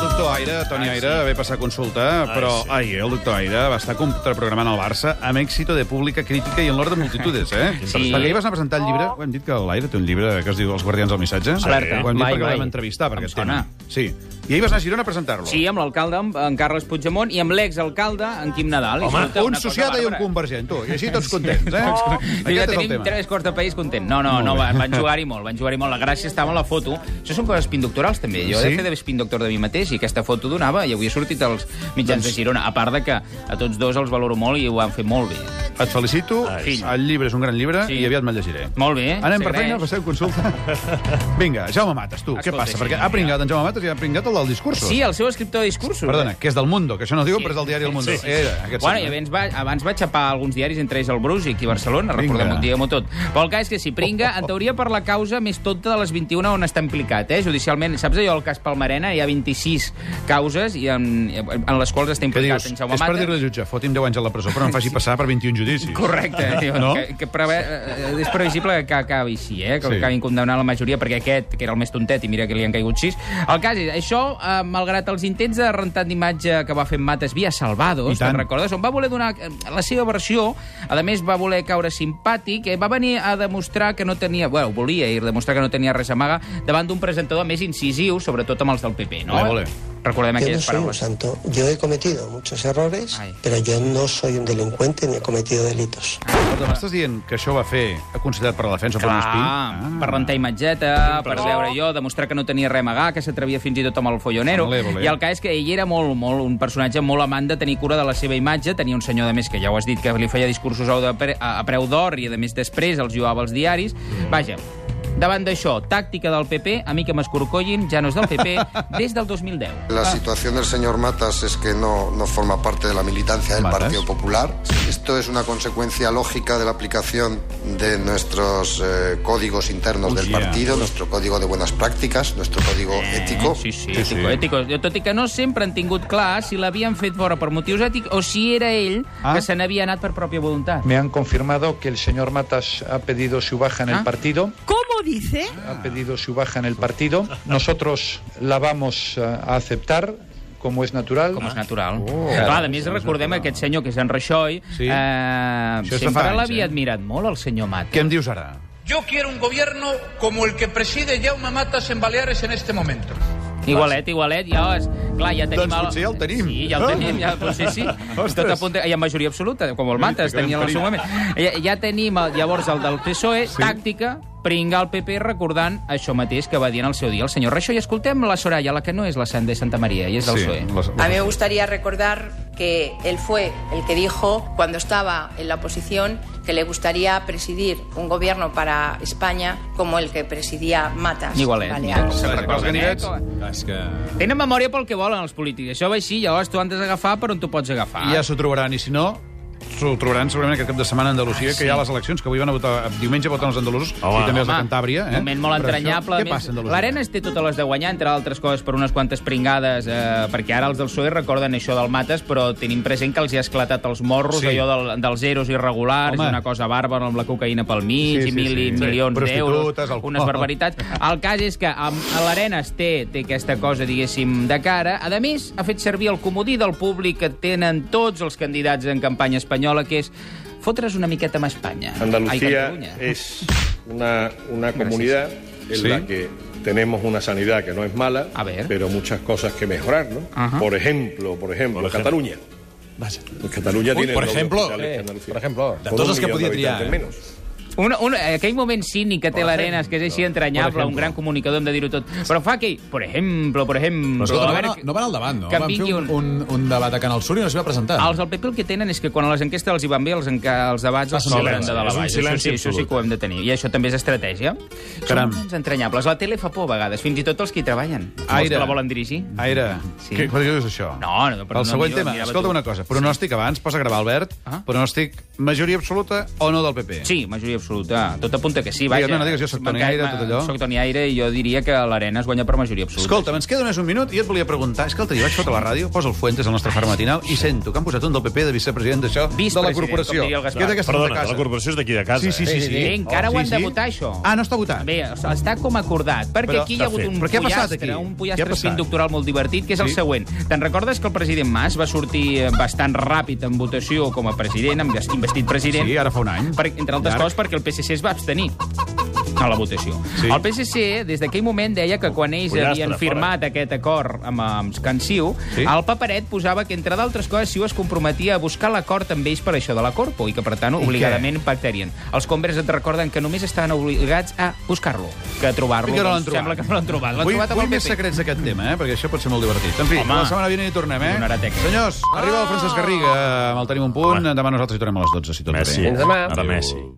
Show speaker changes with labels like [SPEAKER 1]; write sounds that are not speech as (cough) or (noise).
[SPEAKER 1] doctor Aire, Toni Aire, va haver passar consulta, però
[SPEAKER 2] sí.
[SPEAKER 1] ai, el doctor Aire va estar contraprogramant el Barça amb èxito de pública, crítica i en l'hora de multitudes, eh?
[SPEAKER 3] Sí. Oh.
[SPEAKER 1] Perquè ahir vas anar a presentar el llibre... Ho hem dit que l'Aire té un llibre que es diu Els guardians del missatge.
[SPEAKER 3] Alerta.
[SPEAKER 1] Ho hem dit
[SPEAKER 3] Mai,
[SPEAKER 1] perquè el
[SPEAKER 3] mai.
[SPEAKER 1] vam entrevistar, perquè
[SPEAKER 3] Em sona.
[SPEAKER 1] Sí. I ahir vas anar a Girona a presentar-lo.
[SPEAKER 3] Sí, amb l'alcalde, en- en Carles Puigdemont, i amb l'exalcalde, en Quim Nadal. I,
[SPEAKER 1] Home,
[SPEAKER 3] escolta,
[SPEAKER 1] un
[SPEAKER 3] una cosa
[SPEAKER 1] sociada i un
[SPEAKER 3] bàrbara.
[SPEAKER 1] convergent, tu. I així tots contents, eh? Oh.
[SPEAKER 3] (laughs) Diu que
[SPEAKER 1] Aquest és el
[SPEAKER 3] tenim
[SPEAKER 1] tema.
[SPEAKER 3] tres quarts de país content. No, no, no, van, van jugar-hi molt, van jugar-hi molt. La gràcia estava a la foto. Això són coses pindoctorals, també. Jo
[SPEAKER 1] Sí?
[SPEAKER 3] he de fer de pindoctor de mi mateix i aquesta foto donava i avui ha sortit als mitjans
[SPEAKER 1] Doncs-
[SPEAKER 3] de Girona. A part de que a tots dos els valoro molt i ho han fet molt bé.
[SPEAKER 1] Et felicito.
[SPEAKER 3] Ai, sí.
[SPEAKER 1] El llibre és un gran llibre
[SPEAKER 3] Sí.
[SPEAKER 1] i aviat me'l llegiré.
[SPEAKER 3] Molt bé. eh?
[SPEAKER 1] Anem per
[SPEAKER 3] s'agraeix.
[SPEAKER 1] feina, passeu consulta.
[SPEAKER 3] (laughs)
[SPEAKER 1] Vinga, Jaume Mates, tu, què
[SPEAKER 3] Escolta,
[SPEAKER 1] passa?
[SPEAKER 3] sí,
[SPEAKER 1] Perquè ha
[SPEAKER 3] mira.
[SPEAKER 1] pringat en Jaume Mates i ha pringat el del discursos.
[SPEAKER 3] Sí, el seu escriptor de discursos. eh?
[SPEAKER 1] Perdona, que és del Mundo, que això no ho diuen,
[SPEAKER 3] Sí.
[SPEAKER 1] però és del diari El Mundo.
[SPEAKER 2] Sí, sí, sí.
[SPEAKER 1] Era, aquest
[SPEAKER 3] Bueno, i
[SPEAKER 1] senyor.
[SPEAKER 3] abans va, abans va xapar alguns diaris, entre ells el Brus i aquí a Barcelona, recordem-ho, diguem-ho tot. Però el cas és que s'hi pringa, en teoria, per la causa més tonta de les 21 on està implicat, eh? Judicialment, saps allò, el cas Palmarena, hi ha 26 causes i en, en les quals està
[SPEAKER 1] Què
[SPEAKER 3] implicat
[SPEAKER 1] dius?
[SPEAKER 3] en Jaume
[SPEAKER 1] És per
[SPEAKER 3] Mata.
[SPEAKER 1] dir-li al jutge, foti'm 10 anys a la presó, però no em faci passar per 21 judicis.
[SPEAKER 3] Correcte, tio,
[SPEAKER 1] No?
[SPEAKER 3] no? que, que preve, eh, és previsible que acabi així, eh? que
[SPEAKER 1] Sí.
[SPEAKER 3] sí. acabin condemnant la majoria, perquè aquest, que era el més tontet, i mira que li han caigut sis. El cas és, això, eh, malgrat els intents de rentat d'imatge que va fer en Mates via
[SPEAKER 1] I
[SPEAKER 3] Salvados,
[SPEAKER 1] tant.
[SPEAKER 3] te'n recordes? On va voler donar eh, la seva versió, a més va voler caure simpàtic, eh, va venir a demostrar que no tenia... Bueno, volia ir a demostrar que no tenia res a amagar davant d'un presentador més incisiu, sobretot amb els del PP, no?
[SPEAKER 1] Voler, voler.
[SPEAKER 3] Recordem
[SPEAKER 4] Yo no
[SPEAKER 3] aquelles
[SPEAKER 4] soy un
[SPEAKER 3] paraules.
[SPEAKER 4] santo. Yo he cometido muchos errores,
[SPEAKER 3] Ay.
[SPEAKER 4] pero yo no soy un delincuente ni he cometido delitos.
[SPEAKER 1] Escolta, M'estàs dient que això va fer aconsellat per la defensa per Ah. un espí?
[SPEAKER 3] Clar, per rentar imatgeta, per veure jo, demostrar que no tenia res a amagar, que s'atrevia fins i tot amb el follonero.
[SPEAKER 1] Volé, volé.
[SPEAKER 3] I el cas és que ell era molt, molt, un personatge molt amant de tenir cura de la seva imatge, tenia un senyor, de més, que ja ho has dit, que li feia discursos a, de pre, a, a preu d'or i, a més, després els lloava als diaris.
[SPEAKER 1] Mm.
[SPEAKER 3] Vaja, davant d'això, tàctica del PP, a mi que m'escorcollin, ja no és del
[SPEAKER 1] (laughs)
[SPEAKER 3] PP, des del 2010.
[SPEAKER 1] Ah.
[SPEAKER 5] La situación del señor Matas es que no, no forma parte de la militancia del
[SPEAKER 1] Matas.
[SPEAKER 5] Partido Popular. Esto es una consecuencia lógica de la aplicación de nuestros eh, códigos internos
[SPEAKER 1] Oh,
[SPEAKER 5] del
[SPEAKER 1] yeah. Eh,
[SPEAKER 5] partido, nuestro código de buenas prácticas, nuestro código ético.
[SPEAKER 3] Sí, sí,
[SPEAKER 1] Sí, sí.
[SPEAKER 3] ètico, ètico. Jo, Tot i que no sempre han tingut clar si l'havien fet fora per motius ètics o si era ell
[SPEAKER 1] Ah.
[SPEAKER 3] que se n'havia anat per pròpia voluntat.
[SPEAKER 6] Me han confirmado que el señor Matas ha pedido su baja en
[SPEAKER 3] ¿Ah?
[SPEAKER 6] el partido.
[SPEAKER 7] ¿Cómo dice?
[SPEAKER 6] Ha pedido su baja en el partido. Nosotros la vamos eh, a aceptar, como es natural.
[SPEAKER 3] com és natural.
[SPEAKER 1] Oh.
[SPEAKER 3] Oh, Clar, a més, recordem aquest senyor que és en Rajoy.
[SPEAKER 1] Sí.
[SPEAKER 3] Eh,
[SPEAKER 1] Això és de fa
[SPEAKER 3] sempre
[SPEAKER 1] anys, eh?
[SPEAKER 3] l'havia admirat molt, el senyor Mata.
[SPEAKER 1] Què em dius ara?
[SPEAKER 8] Yo quiero un gobierno como el que preside Jaume Matas en Baleares en este momento.
[SPEAKER 3] Igualet, igualet, ja, és, clar, ja tenim...
[SPEAKER 1] Doncs potser ja el tenim.
[SPEAKER 3] Sí, ja el tenim, ja, potser sí.
[SPEAKER 1] (laughs) Ostres.
[SPEAKER 3] Tot a punt, de- i en majoria absoluta, com el Mates,
[SPEAKER 1] que
[SPEAKER 3] tenia en el seu
[SPEAKER 1] perill.
[SPEAKER 3] moment. Ja, ja tenim, el, llavors, el del PSOE, sí. E, tàctica, pringar el PP recordant això mateix que va dir en el seu dia el senyor Rajoy. Escoltem la Soraya, la que no és la Sanda de Santa Maria, i és del PSOE.
[SPEAKER 1] les-
[SPEAKER 9] A mí me gustaría recordar que él fue el que dijo, cuando estaba en la oposición, que le gustaría presidir un gobierno para España como el que presidía Matas.
[SPEAKER 3] Igualet.
[SPEAKER 9] Baleares.
[SPEAKER 1] Se'n recorden, eh?
[SPEAKER 3] Com-
[SPEAKER 2] És que...
[SPEAKER 3] Tenen memòria pel que volen els polítics. Això va així, llavors tu han d'agafar per on tu pots agafar.
[SPEAKER 1] Ja s'ho trobaran, i si no, s'ho trobaran segurament aquest cap de setmana a Andalusia,
[SPEAKER 3] Ah,
[SPEAKER 1] que hi ha les eleccions, que avui van a votar, eh, diumenge voten els andalusos, i també els de Cantàbria. Eh?
[SPEAKER 3] moment molt
[SPEAKER 1] Per això,
[SPEAKER 3] entranyable.
[SPEAKER 1] Què passa a Andalusia?
[SPEAKER 3] L'Arena es té totes les de guanyar, entre altres coses, per unes quantes pringades, eh, perquè ara els del PSOE recorden això del Mates, però tenim present que els hi ha esclatat els morros,
[SPEAKER 1] Sí.
[SPEAKER 3] sí. allò del, dels zeros irregulars,
[SPEAKER 1] Home.
[SPEAKER 3] Home. una cosa bàrbara amb la cocaïna pel mig,
[SPEAKER 1] Sí, sí,
[SPEAKER 3] sí, sí, i mil i
[SPEAKER 1] sí.
[SPEAKER 3] milions
[SPEAKER 1] Sí.
[SPEAKER 3] d'euros,
[SPEAKER 1] Prostitutes, alcohol.
[SPEAKER 3] unes barbaritats. El cas és que amb l'Arena es té, té aquesta cosa, diguéssim, de cara. A més, ha fet servir el comodí del públic que tenen tots els candidats en campanya espanyola, que és fotre's una miqueta amb Espanya. Ai,
[SPEAKER 10] Andalucía
[SPEAKER 3] Catalunya.
[SPEAKER 10] es una, una comunidad en
[SPEAKER 1] Sí.
[SPEAKER 10] la que tenemos una sanidad que no es mala,
[SPEAKER 3] A ver.
[SPEAKER 10] pero muchas cosas que mejorar, ¿no?
[SPEAKER 3] Ajá.
[SPEAKER 10] Por ejemplo, por ejemplo,
[SPEAKER 2] Por ejemplo.
[SPEAKER 10] Cataluña. Pues Cataluña tiene
[SPEAKER 2] por
[SPEAKER 10] el doble
[SPEAKER 2] ejemplo,
[SPEAKER 10] hospitales que
[SPEAKER 2] eh,
[SPEAKER 10] Andalucía.
[SPEAKER 2] por ejemplo.
[SPEAKER 10] Con
[SPEAKER 2] Todos
[SPEAKER 10] un
[SPEAKER 2] los que
[SPEAKER 10] millón de
[SPEAKER 2] podía triar,
[SPEAKER 10] habitantes
[SPEAKER 2] eh.
[SPEAKER 10] menos.
[SPEAKER 3] Un, un, aquell moment cínic que té l'Arenas, que és així entranyable, un gran comunicador, hem de dir-ho tot. Però fa aquell, per exemple, per exemple...
[SPEAKER 2] Però escolta,
[SPEAKER 3] a
[SPEAKER 2] no,
[SPEAKER 3] veure
[SPEAKER 2] van,
[SPEAKER 3] que-
[SPEAKER 2] no van al davant, no?
[SPEAKER 3] Que en
[SPEAKER 2] van fer
[SPEAKER 3] vingui
[SPEAKER 2] un,
[SPEAKER 3] un...
[SPEAKER 2] un, un debat a Canal Sur i no s'hi va presentar.
[SPEAKER 3] Els del PP el que tenen és que quan a les enquestes els hi van bé, els, enca... els debats els
[SPEAKER 2] Passen
[SPEAKER 3] cobren
[SPEAKER 2] silenci, eh?
[SPEAKER 3] de dalt a
[SPEAKER 2] és un
[SPEAKER 3] baix. Això
[SPEAKER 2] silenci
[SPEAKER 3] sí, això sí
[SPEAKER 2] absolut.
[SPEAKER 3] que ho hem de tenir. I això també és estratègia.
[SPEAKER 1] Caram.
[SPEAKER 3] Són moments entranyables. La tele fa por a vegades, fins i tot els que hi treballen. Els
[SPEAKER 1] Aire.
[SPEAKER 3] que la volen dirigir.
[SPEAKER 1] Aire, sí.
[SPEAKER 3] Sí.
[SPEAKER 1] què, per què dius això?
[SPEAKER 3] No, no,
[SPEAKER 1] El
[SPEAKER 3] però no,
[SPEAKER 1] següent
[SPEAKER 3] mira,
[SPEAKER 1] tema,
[SPEAKER 3] mirava
[SPEAKER 1] escolta
[SPEAKER 3] tu.
[SPEAKER 1] una cosa. Pronòstic abans, posa a gravar, Albert.
[SPEAKER 3] Ah.
[SPEAKER 1] Pronòstic majoria absoluta o no del PP?
[SPEAKER 3] Sí, majoria absoluta. Tot apunta que sí, vaja.
[SPEAKER 1] no, no digues, jo soc Toni
[SPEAKER 3] M'encai-
[SPEAKER 1] Aire, tot allò.
[SPEAKER 3] Soc Toni Aire i jo diria que l'Arena es guanya per majoria absoluta.
[SPEAKER 1] Escolta, ens queda només un minut i jo et volia preguntar. És que l'altre dia vaig fotre la ràdio, posa el Fuentes al nostre far matinal i sento que han posat un del PP de vicepresident d'això, de la
[SPEAKER 3] Vicepresident,
[SPEAKER 1] corporació.
[SPEAKER 3] com diria el Gaspar.
[SPEAKER 1] Que és d'aquesta
[SPEAKER 7] Perdona,
[SPEAKER 1] casa.
[SPEAKER 7] la corporació és d'aquí de casa.
[SPEAKER 1] Sí, sí, sí. sí.
[SPEAKER 3] Eh, encara ho
[SPEAKER 1] Sí,
[SPEAKER 3] han de
[SPEAKER 1] sí.
[SPEAKER 3] votar, això.
[SPEAKER 1] Ah, no està votat.
[SPEAKER 3] Bé, o sigui, està com acordat, perquè
[SPEAKER 1] Però,
[SPEAKER 3] aquí hi
[SPEAKER 7] de
[SPEAKER 3] ha hagut
[SPEAKER 7] fet.
[SPEAKER 3] un
[SPEAKER 1] Però què ha passat
[SPEAKER 3] pollastre,
[SPEAKER 1] aquí? Què
[SPEAKER 3] un
[SPEAKER 1] ha
[SPEAKER 3] pollastre
[SPEAKER 1] passat?
[SPEAKER 3] espín doctoral molt divertit, que és el
[SPEAKER 1] Sí.
[SPEAKER 3] següent. Te'n recordes que el president Mas va sortir eh, bastant ràpid en votació com a president, amb vest- investit president,
[SPEAKER 1] Sí, ara fa un any.
[SPEAKER 3] per, entre altres
[SPEAKER 1] Llarg.
[SPEAKER 3] coses perquè el PSC es va abstenir a la votació.
[SPEAKER 1] Sí.
[SPEAKER 3] Sí. El PSC, des d'aquell moment, deia que quan ells
[SPEAKER 7] Pollastre,
[SPEAKER 3] havien
[SPEAKER 7] fora.
[SPEAKER 3] firmat aquest acord amb, amb Cansiu,
[SPEAKER 1] Sí.
[SPEAKER 3] sí. el paperet posava que, entre d'altres coses, Siu es comprometia a buscar l'acord amb ells per això de la Corpo i que, per tant, obligadament pactarien. Els Converse et recorden que només estaven obligats a buscar-lo, que a trobar-lo.
[SPEAKER 1] I que no l'han
[SPEAKER 3] Doncs
[SPEAKER 1] trobat.
[SPEAKER 3] Sembla que no l'han trobat. L'han
[SPEAKER 1] Vull,
[SPEAKER 3] trobat amb
[SPEAKER 1] vull
[SPEAKER 3] el
[SPEAKER 1] més
[SPEAKER 3] PP.
[SPEAKER 1] secrets d'aquest tema, eh? perquè això pot ser molt divertit. En fi,
[SPEAKER 3] Home.
[SPEAKER 1] la setmana vinent hi tornem, eh?
[SPEAKER 3] Donarà teca.
[SPEAKER 1] Senyors, arriba el Francesc Garriga amb el Tenim un punt. Demà nosaltres hi tornem a les 12, si tot
[SPEAKER 7] Messi.
[SPEAKER 1] bé.
[SPEAKER 7] Ara Messi.